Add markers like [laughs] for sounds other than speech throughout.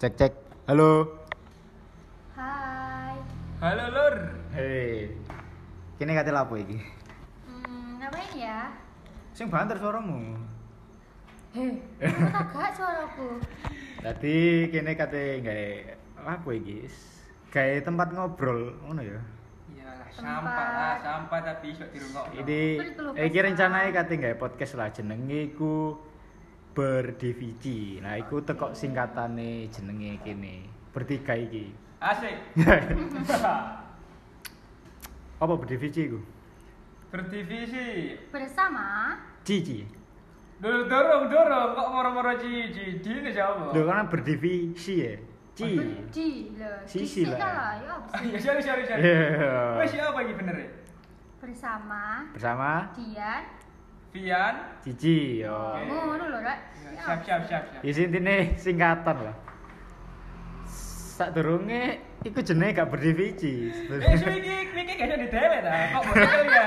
Cek cek. Halo. Hai. Halo Lur. Hei. Kini kate lapo iki? Hmm, ngapain ya? Sing banter suaramu. Heh, kok gak suaraku? Tadi kini kate gawe lapo iki? Gawe tempat ngobrol ngono ya. Iyalah Tempat. sampah lah, sampah tapi iso dirungokno. Ini Terus belum iki pasang. rencanae kate gawe podcast lah jenenge iku berdivici. Nah, iku tekok singkatane jenenge kene. Bertiga iki. [laughs] Asik. Apa berdivici iku? Berdivisi. Bersama Cici. Dulu dorong dorong kok moro-moro cici di ini siapa? Lho kan berdivisi ya. Oh, Ci. Berdi lho. Sisi Disik lah. ta lah, ya apa sih? Ya sorry sorry sorry. Iya. Wes siapa iki bener ya? Bersama Bersama Dian. Vian. Cici yo. Oke. Ngono lho, Rek. Ya Siap siap siap siap. Isi intine singkatan lah. Sadurunge iku jenenge gak berdivici. Eh su iki iki gak iso didelek ta. Kok bodoh ya.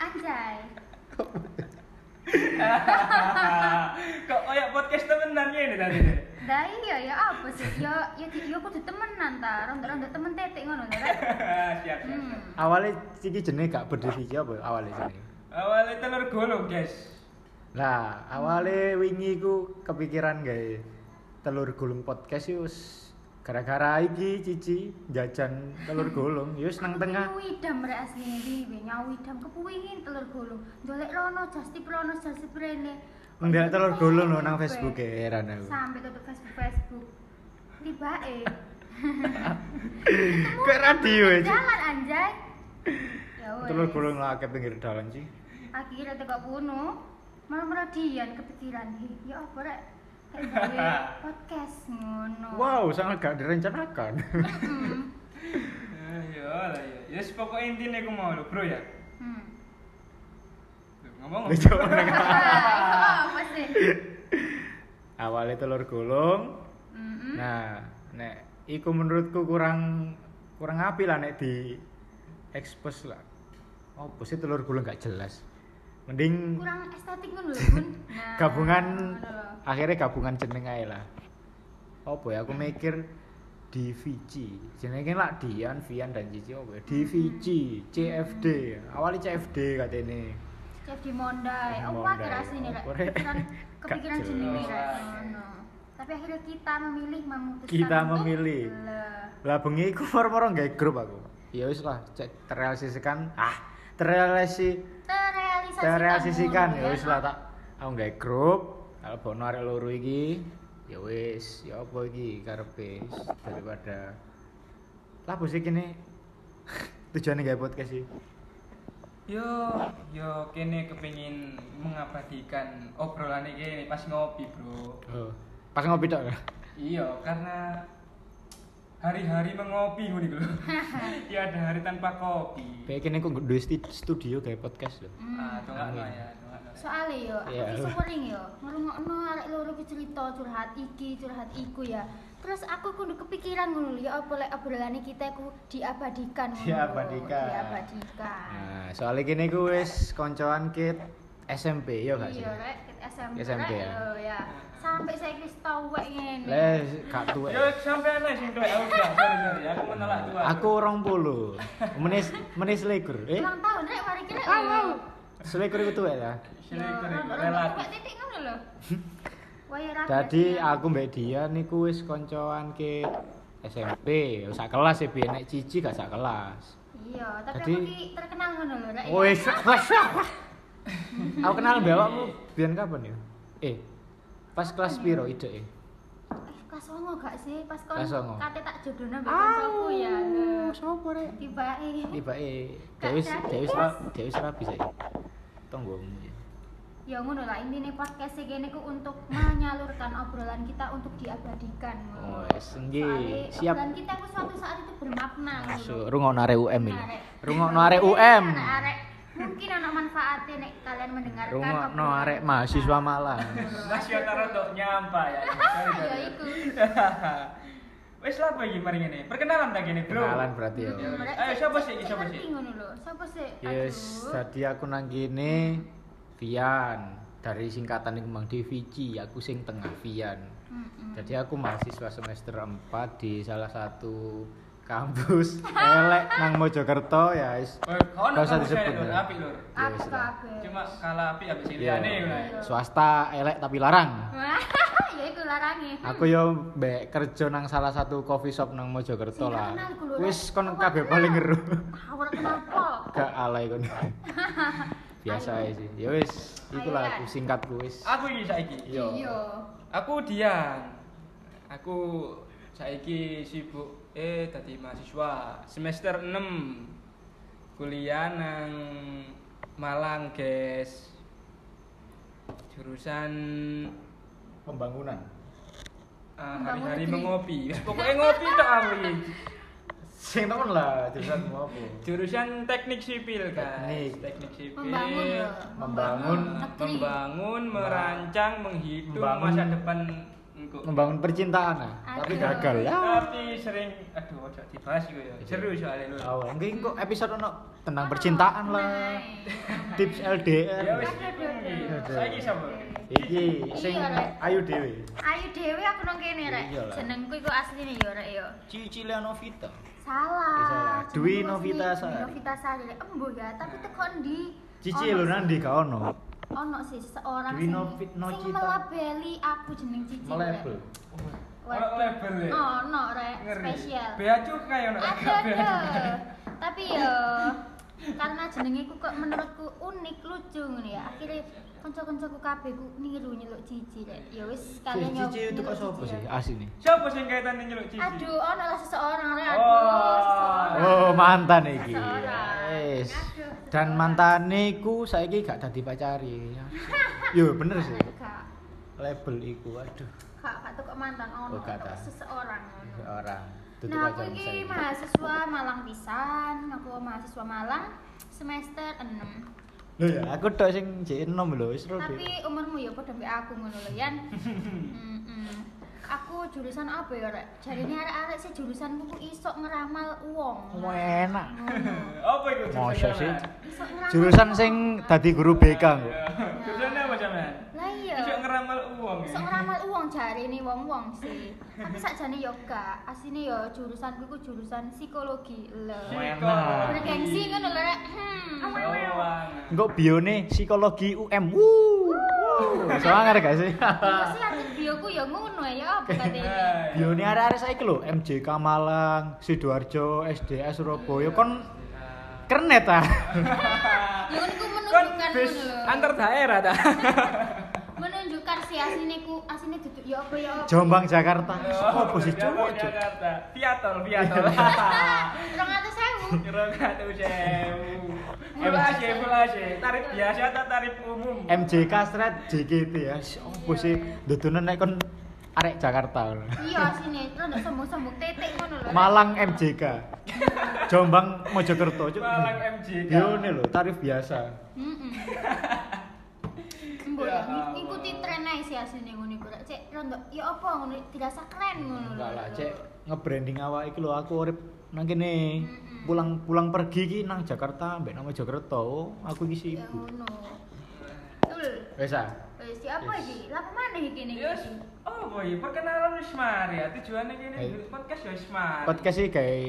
Anjay. Kok kayak podcast temenan ngene tadi. [laughs] Lah iya ya apa sih? Ya ya di- ya kudu temenan ta, ronda-ronda temen tetek ngono lho, Rek. Siap siap. siap. Hmm. Awale iki jenenge gak berdivici apa awale jenenge? Awalnya telur gulung guys. Lah, awale wingi ku kepikiran gawe telur gulung podcast yo wis gara-gara iki Cici jajan telur gulung yo wis nang tengah. Nyawidam rek asline piye? Nyawidam kepuingin telur gulung. Ndolek rono, justip rono, justip rene. Ndelok telur gulung lho nang Sampai. Facebook e heran aku. sampai tutup Facebook Facebook tiba [laughs] eh Kayak radio ya, Ci. jalan anjay ya wes Telur gulung lah ke pinggir dalan sih. akhirnya tegak bunuh malah meradian kepikiran "Hi, ya apa rek [laughs] Kayak gawe podcast ngono Hmm, Wow, sangat gak direncanakan. [laughs] Mm-mm. Ya Eh, lah ya. Ya yes, pokok intine ku mau lho, Bro ya. hmm. Loh, Ngomong. Wis coba Wah, apa sih awalnya telur gulung Mm-mm. nah nek iku menurutku kurang kurang api lah nek di expose lah apa sih telur gulung gak jelas mending kurang estetik ngono lho bun Nah, gabungan ngono lho. akhirnya gabungan jeneng ae lah apa ya aku mikir DVC jenenge lah Dian, Vian dan Cici apa ya DVC, CFD awalnya CFD katene Chef di Chef Mondai. di Oh, Mondai. wajar aslinya, Rek. Apa, Rek? Kepikiran [laughs] Gak kepikiran jelas. jenenge, Rek. Oh, Ngono. Tapi akhirnya kita memilih memutuskan Kita untuk- memilih. Lah, lah bengi iku moro-moro nggae grup aku ya wis lah cek terrealisasikan ah terrealisasi Terrealisasikan. terrealisasikan ngono, ya wis lah tak aku nggae grup kalau bono arek loro iki ya wis ya apa iki karepe wis, daripada lah bos iki ne [laughs] tujuane nggae podcast iki Yo, yo kene kepengin mengabadikan obrolan iki pas ngopi, Bro. oh. pas ngopi tok ya? Iya, karena hari-hari mengopi ngono iku lho. Ya ada hari tanpa kopi. kayak kene kok duwe sti- studio gawe podcast lho Hmm. Ah, dongakno Amin. ya, dongakno ya. Soale yo, aku Iya. iso sering yo ngrungokno arek loro ku cerita curhat iki, curhat iku ya. Terus aku kudu kepikiran ngono lho, ya apa lek obrolane kita iku diabadikan ngono. lho. Diabadikan. Diabadikan. nah soalnya kene ku wis koncoan kit SMP yo gak sih Iya, Rek, Ket SMP. SMP, Rek, ya. lho, ya. Sampai saya wis tau wek ngene. Lah gak tuwek Yo sampean lah sing tuwek aku gak sorry sorry ya, aku menolak tua. Aku orang puluh. Menis menis selikur. Eh, Ulang tahun rek mari kira. selikur itu tuwek lah. selikur iku relatif. titik ngono [laughs] lho. Waya rapi. Jadi rasanya. aku mbak dia niku wis koncoan ke SMP, ya sak kelas ya biar nek cici gak sak kelas. Iya, tapi Jadi- aku ki terkenal ngono lho rek. Wis [laughs] sak kelas. Aku kenal mbak awakmu biyen kapan ya? Eh, pas kelas piro ide eh? Eh, kelas 9 gak sih? Pas kon Kelas songo. kate tak jodohna mbek kancaku ya. lho. Sopo rek? Tibae. Tiba eh, Gak Dewi jadi, Dewi Mas. ra Dewi rapi saiki. Tonggomu ya. Ya ngono lah intine podcast iki niku untuk menyalurkan obrolan kita untuk diabadikan. Oh, ngono. wis Soale nggih. Siap. Obrolan kita ku suatu saat itu bermakna Masuk ngono. rungokno arek UM iki. Arek. Rungokno arek UM. Arek- arek. Mungkin ana manfaatnya nek kalian mendengarkan. Rungokno obrolan arek kita. mahasiswa Malang. Nasional rodok nyampa ya. Sorry, Ah, ya sorry. [laughs] iku. Wis lah apa iki mari ngene. Perkenalan ta kene, Bro. Kenalan berarti ya. Iya. Mereka Ayo, cek- siapa cek- sih? cek Siapa ngerti sih? ngono lho. Siapa sih? Yes, Aduh. tadi aku nang kene Vian dari singkatan iki Mang Devici, aku sing tengah Vian. Jadi aku mahasiswa semester 4 di salah satu kampus [laughs] elek nang Mojokerto ya wis. Oh, Nggak usah kau nang kampusnya, disebut, Lur. ya. Api lur. Ya Apa wis kok lah. kabeh? Cuma kalah api habis ini Iya. aneh lur. Swasta elek tapi larang. Wah, [laughs] ya iku larange. Aku yo mbek kerja nang salah satu coffee shop nang Mojokerto Sing lah. terkenal iku lho, Wis Rek. kon Apa kabeh kenal? paling ngeru. Awur kenapa? Gak alay [laughs] kon. Biasa ae sih. Ya wis, Ayo, ikulah Ran. aku singkatku wis. Aku iki saiki. Iya. Iya. Aku Dian. Aku saiki sibuk eh tadi mahasiswa semester 6 kuliah nang Malang, guys. Jurusan Pembangunan. ah, Bangun hari-hari negeri. mengopi. [laughs] Wis, Pokoknya ngopi tak aku iki. Sing temen lah jurusan mau apa? Jurusan teknik sipil, Teknik. guys. teknik sipil. Membangun lho. Membangun. negeri. membangun, merancang, menghitung Membangun. masa depan engko. Membangun percintaan ah. Tapi Aduh. gagal ya. Tapi sering aduh ojo dibahas iku ya. Seru soalnya lu. Awal Oh, enggak kok episode ono tentang percintaan lah. Tips Ya LDR. wis. Aduh, aduh, aduh. Saiki sapa? Iki sing Iya, Rek. ayu dhewe. Ayu Dewi aku nang kene rek. Iya lah. Jenengku iku asline yo rek yo. Cicile Novita. Salah. Eh, salah. Jenengku Dwi asli Novita Dwi Sari. Novita Sari. Rek. Embuh ya, tapi tekon di Cici lho nanti gak ono. Ono sih seorang Dwi sing Novi- sing Novita. melabeli aku jeneng Cici. Melebel. Ono label ya. Ono rek Ngeri. Oh, spesial. Bea cukai ono. Ada ada. Tapi yo karena jenenge ku kok menurutku unik lucu ngono ya. Akhirnya kanca-kancaku kabeh ku niru nyeluk Cici rek. Ya wis kalian Cici- nyeluk- Cici itu kok nyeluk sapa Cici, sih rek. asine? Siapa sing kaitane nyeluk cici? Aduh, ono lah seseorang rek. Aduh, Mm-hmm. Wah. seseorang. Oh, mantan iki. Seseorang. Yes. Dan Aduh, seseorang. mantane ku saiki gak dadi [laughs] pacari. Yo bener sih. Kak, Label iku aduh. kak, kak tuh kok mantan ono, Oh, gak kak ta. seseorang ono. Orang. Tutup Nah, aku aja iki misalnya. mahasiswa Malang pisan, aku mahasiswa Malang semester 6. Lho ya, aku tok sing jek enom lho, wis Tapi umurmu ya padha mbek aku ngono lho, [laughs] Yan. Mm-mm. Aku jurusan apa ya, Rek? Jarine arek-arek sih jurusanku ku iso ngeramal uang. Mau enak. Ngono. Apa iku Masa sih? sampean? Iso ngeramal Jurusan uang. sing dadi guru BK kok. Iya. Jurusannya apa sampean? Lah iya. Iso ngeramal uang Sok ya. ngeramal uang jari ini wong wong sih. Tapi sakjane yo gak. Asline yo jurusanku ku jurusan psikologi. Lho. Enak. Psikologi. Bergengsi ngono lho Rek. Hmm. Oh, Sowan. Engko bione psikologi UM. Wuh. Semangat gak sih? Iya sih aja bioku yo ngono ya apa kate ini. Hai. Bione arek-arek saiki lho, MJK Malang, Sidoarjo, SDS Surabaya kon ah. keren ta. [laughs] Yo niku Kon menunjukkan Kan bis ngono lho. antar daerah [laughs] ta. Menunjukkan si asine ku asine duduk yo apa yo. apa. [laughs] Jombang [laughs] Jakarta. Sopo sih cowok? Jawa, Iya, Jakarta. Piatol, piatol. [laughs] 200.000. Kira kata sewu. Evaluasi, evaluasi. Tarif biasa atau tarif umum? MJK Strat JKT ya. Sopo sih dudunan nek kon arek Jakarta. lho. Iya asine terus ndak sombong-sombong titik ngono lho. Rek. Malang MJK. Jombang Mojokerto. Cuk. Malang MJK. Bione lho, tarif biasa. Heeh. Ya Mbok Allah. ngikuti tren ae sih asline ngono iku Rek. Cek rondo ya apa ngono dirasa keren ngono lho. Enggak lah, cek nge-branding awak iki lho aku urip nang kene. Mm-mm. Pulang-pulang pergi ki nang Jakarta mbek nama Jakarta. Aku iki Ya sibuk. ngono. Tul. Wes ah. Wis ya apa Yes. iki? Lah mana iki kene Yes. iki? Oh boy, perkenalan wis mari ya. Tujuannya gini Hai. bikin podcast ya wis mari. Podcast iki kayak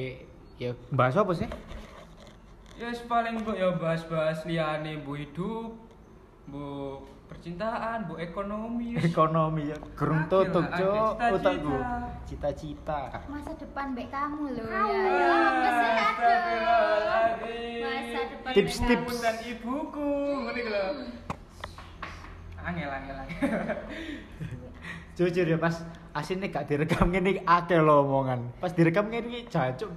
ya bahas apa sih? Ya wis paling bu ya bahas-bahas liane bu hidup, bu percintaan, bu ekonomi. wis. Ekonomi ya gerung tutup, Akhir, Cuk. akhir cita-cita. Utakku. Cita-cita. Masa depan mbek kamu lho ya. Wah, Ya apa sih aduh. astagfirullahaladzim. Masa iya. depan Tips-tips. Ibumu dan ibuku, ngerti lho. Angel angel angel. Jujur ya pas asine gak direkam ngene iki akeh lho omongan. Pas direkam ngene iki jancuk.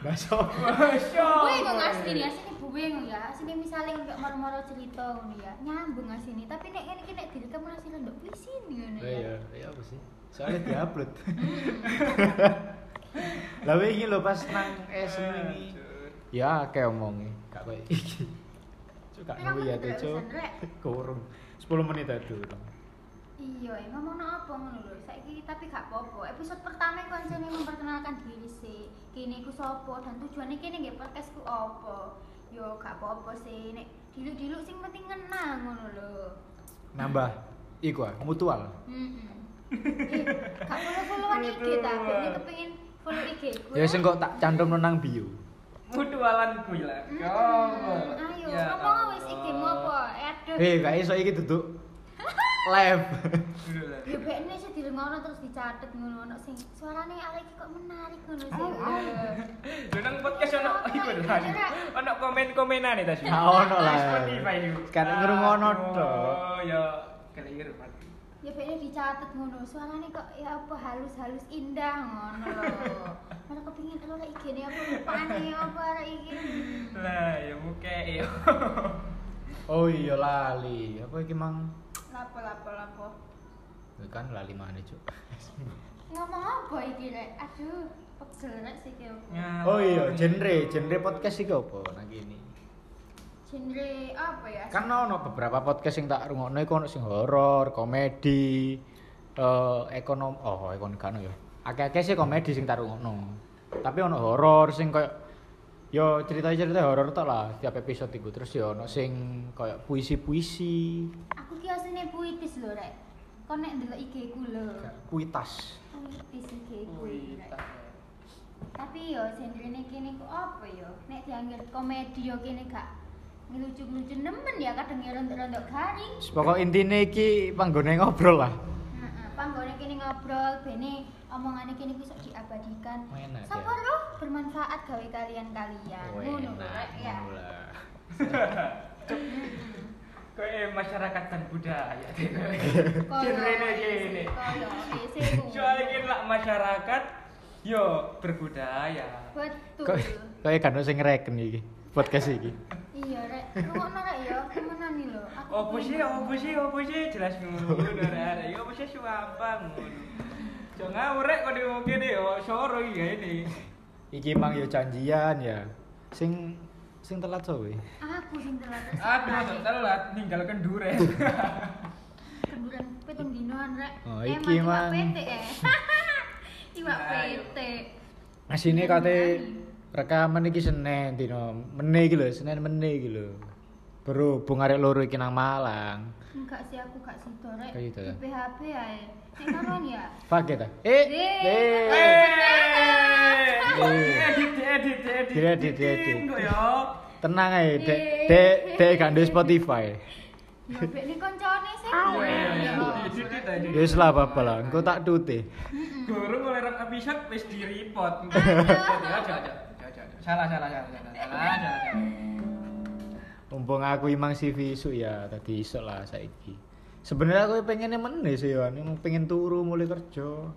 Bahas apa? Masya Gue ngomong Allah. asli nih, asli gue ngomong ya Asli misalnya kayak moro-moro cerita ngono ya Nyambung asli nih, tapi nek ini nek diri kamu asli ndok puisi nih ngono Lah ya ya, ya apa sih? Soalnya diupload. [laughs] Lah weh iki lho pas nang SM Ah, iki. Ya akeh omongi, gak koyo iki. [laughs] Cuk gak Pirang ngerti ya menit rek Cuk. pisan, rek? Kurung 10 menit aduh. Iya, ya ngomong apa ngono lho Saiki tapi gak apa-apa Episode pertama yang koncene memperkenalkan diri sih Kini ku sopo dan tujuannya kini gak podcastku apa Yo gak apa-apa sih, nek diluk-diluk sing penting kenal ngono lho Nambah iku ah, mutual. Mm-mm. Eh, gak follow followan IG ta, Aduh. ini kepengin follow IG ku. Ya sing kok tak cantum nang bio. Mutualan Ya gue lah. Hmm, Kamu. Ayo, Ya ngomong wis Allah. IG-mu apa? Eh, Aduh. Eh, gak iso iki duduk live. Dulu lah. Ya bekne sih dilengokno terus dicatet ngono ono sing suarane arek iki kok menarik ngono sih. Lu nang podcast ono iku lah. Ono komen-komenan ya tadi. Gak ono lah. Spotify itu. Sekarang ngrungokno tok. Oh ya keliru mati. Ya bekne dicatet ngono suarane kok ya apa halus-halus indah ngono [laughs] lho. Malah kepengin lho lek IG-ne apa rupane apa arek iki. Lah ya muke ya. [laughs] Oh iya lali. Apa iki mang? Lapo lapo lapo. Ya Kan lali mana cuk. Ngomong apa iki rek? Aduh, pegel rek sih iki. Oh iya, genre, genre podcast iki apa nang kene? Genre apa ya? Kan ono beberapa podcast sing tak rungokno iku ono sing horor, komedi, eh ekonom, oh ekonomi kan ya. Akeh-akeh sih komedi sing tak rungokno. Tapi ono horor sing koyo yo cerita-cerita horor tok lah tiap episode iku. Terus yo ono sing koyo puisi-puisi, Aku ki asline puitis lho rek. Kon nek ndelok IG ku lho. puitas. Puitis IG ku. Wih, Rek. tak. tapi yo genre kene ku apa yo nek dianggap komedi yo kene gak ngelucu-ngelucu nemen ya kadang ya rontok-rontok garing Pokok intine iki panggone ngobrol lah. heeh panggone kene ngobrol bene omongane kene ku iso diabadikan Enak, ya. sabar loh bermanfaat gawe kalian-kalian ngono lho, Rek, ya [laughs] Kayak masyarakat dan budaya. [laughs] Koyo Genre isi, ini. koyo isi, [laughs] ngono. Soalnya ini lah masyarakat yo berbudaya. betul Kok kaya kan sing ngereken iki podcast iki. iya rek ngono rek yo temenan iki lho Aku Opo sih, pengen- opo sih, opo sih jelas ngono arek. Yo opo sih suwapa ngono. Jo ngawur rek kok diomongke deh yo oh, soro iki ya ini. Iki mang yo janjian ya. Sing sing telat sowe. aku sing telat rek. Aku tuh telat ninggal [laughs] kenduren. Keduran pitung dinoan rek. Oh, Eh, iki, mah Mang. PT [laughs] eh. Iwak Ayo. PT. Asine kate rekaman iki Senin dino mene iki lho, Senin mene iki lho. Berhubung arek loro iki nang Malang. Enggak sih aku gak sido rek. Kayak gitu ya? Di PHP ae. Nek karuan ya. Paket ta? Eh. Eh. eh. Eh, Eh. edit, edit, edit, Diedit, diedit. Kok yo. Tenang ae, Dek. Dek, Dek gak nduwe Spotify. Ya bek ni koncone sih. Iya, edit, edit, edit. Ya wis lah apa lah, engko tak tute. Guru mulai rek episode wis di report. Salah, salah, salah, salah, salah, salah. Mumpung aku imang CV isu ya tadi iso lah saiki. Sebenarnya aku pengennya meneh sih ya, ini pengen turu mulai kerja.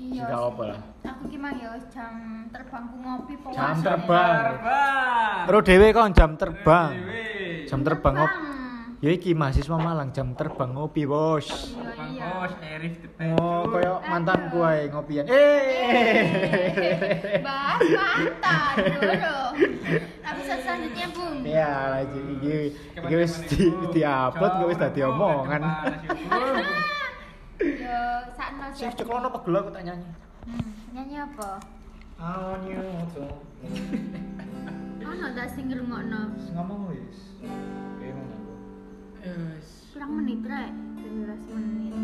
Iya. Enggak sih. apa lah. Aku ki mang yo jam terbangku ngopi po. Jam Mas. terbang. Terbang. Ro dhewe kon jam terbang. Dewe. Jam terbang ngop. Ya iki mahasiswa Malang jam terbang ngopi, Bos. Iya Bang iya. Bos, Erif the best. Oh, koyo mantan kuai ngopian. Eh. Bahas mantan dulu. Episode selanjutnya Bung. Ya, lagi iki iki Teman-teman wis di ibu, diupload jauh gak wis dadi depan, omongan. depan, ibu. [laughs] Yo sakno Sih ceklono pegel aku tak nyanyi. Hmm, nyanyi apa? Oh, new to. Ono tak sing ngrungokno. Ngomong wis. Kayak ngono. Yes. Kurang menit rek, 17 menit.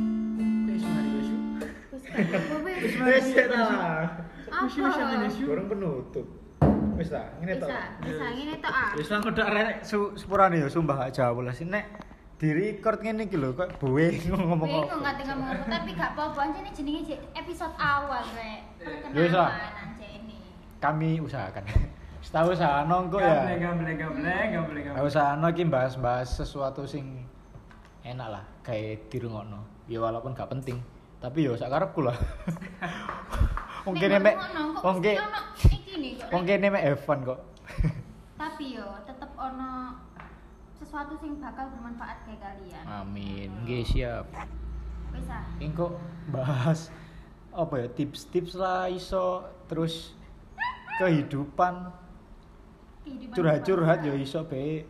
Wis, mari, wis. Wis gak apa wis. Wis ta. Wis, wis, wis, wis, wis. Gorong penutup. Wis ta, ngene Bisa, bisa ngene tok ah. Wis lah kodak rek su- sepurane ya sumpah gak jawab lah nek di record ngene iki lho kok buwe ngomong apa. Bingung ngate ngomong apa, tapi gak apa-apa anjene jenenge je- episode awal rek. Iya, Wis ah. lah. Perkenalan anjene. Kami usahakan. [laughs] Setahu usahano engko Gableng, ya. gableng, gableng, gableng, Gak gableng. usahano iki bahas-bahas sesuatu sing enak lah kayak dirungokno. Ya walaupun gak penting, tapi ya sak karepku lah. Wong kene mek wong wong kene iki nih kok. wong rek. kene mek Evan kok. Tapi yo tetep ono sesuatu sing bakal bermanfaat kayak kalian. Gitu. Amin. Nggih siap. Wis ah. Ini kok bahas apa ya tips-tips lah iso terus kehidupan Kehidupan curhat-curhat ya bermanfaat. iso be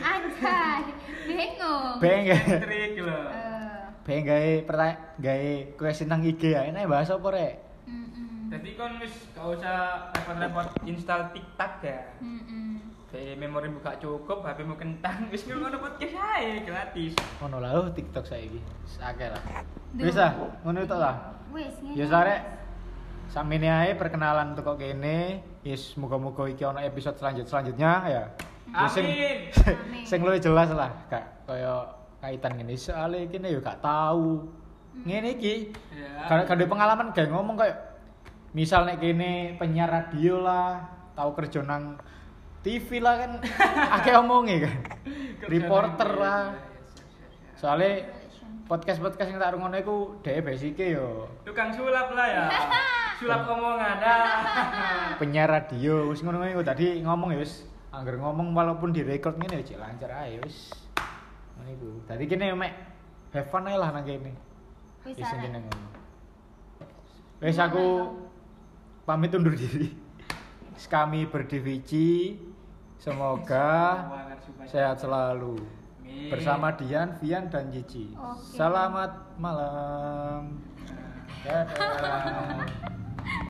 Anjay, bingung. be nggak Trik lho. Eh, be gawe pertanyaan gawe question nang IG ya enak bahas apa rek mm-mm. jadi kon wis gak usah repot-repot install tiktok ya Heeh. dari memori buka cukup HP mu kentang [laughs] wis ngono podcast ae gratis ngono lah oh, TikTok saiki. Sakeh lah. Duh. Wis lah, ngono tok lah. Wis ngene. Ya sarek sampeyan ae perkenalan teko kene. Yes, muga-muga iki ono episode selanjut selanjutnya ya. Ya, sing- Amin. Amin. [laughs] sing luwih jelas lah kak kaya kaitan ngene soalnya kene yo gak tahu ngene iki ya karena kadang pengalaman gak ngomong kayak misal nek kene penyiar radio lah tahu kerja nang TV lah kan akeh omongnya kan Kerjaan reporter yang- lah soalnya Relation. podcast podcast yang tak rungono iku dhewe basike yo tukang sulap lah [laughs] ya sulap omongan ah. penyiar radio wis ngono iku tadi ngomong ya wis angger ngomong walaupun direkord ngene ya cek lancar ae wis ngono iku tadi kene mek have fun ae lah nang kene Wis Wis arek. kene Iya, ngono wis aku pamit undur diri Wis kami berdivici semoga sehat selalu Amin. bersama Dian, Vian dan Cici. Oke. Selamat malam. Dadah.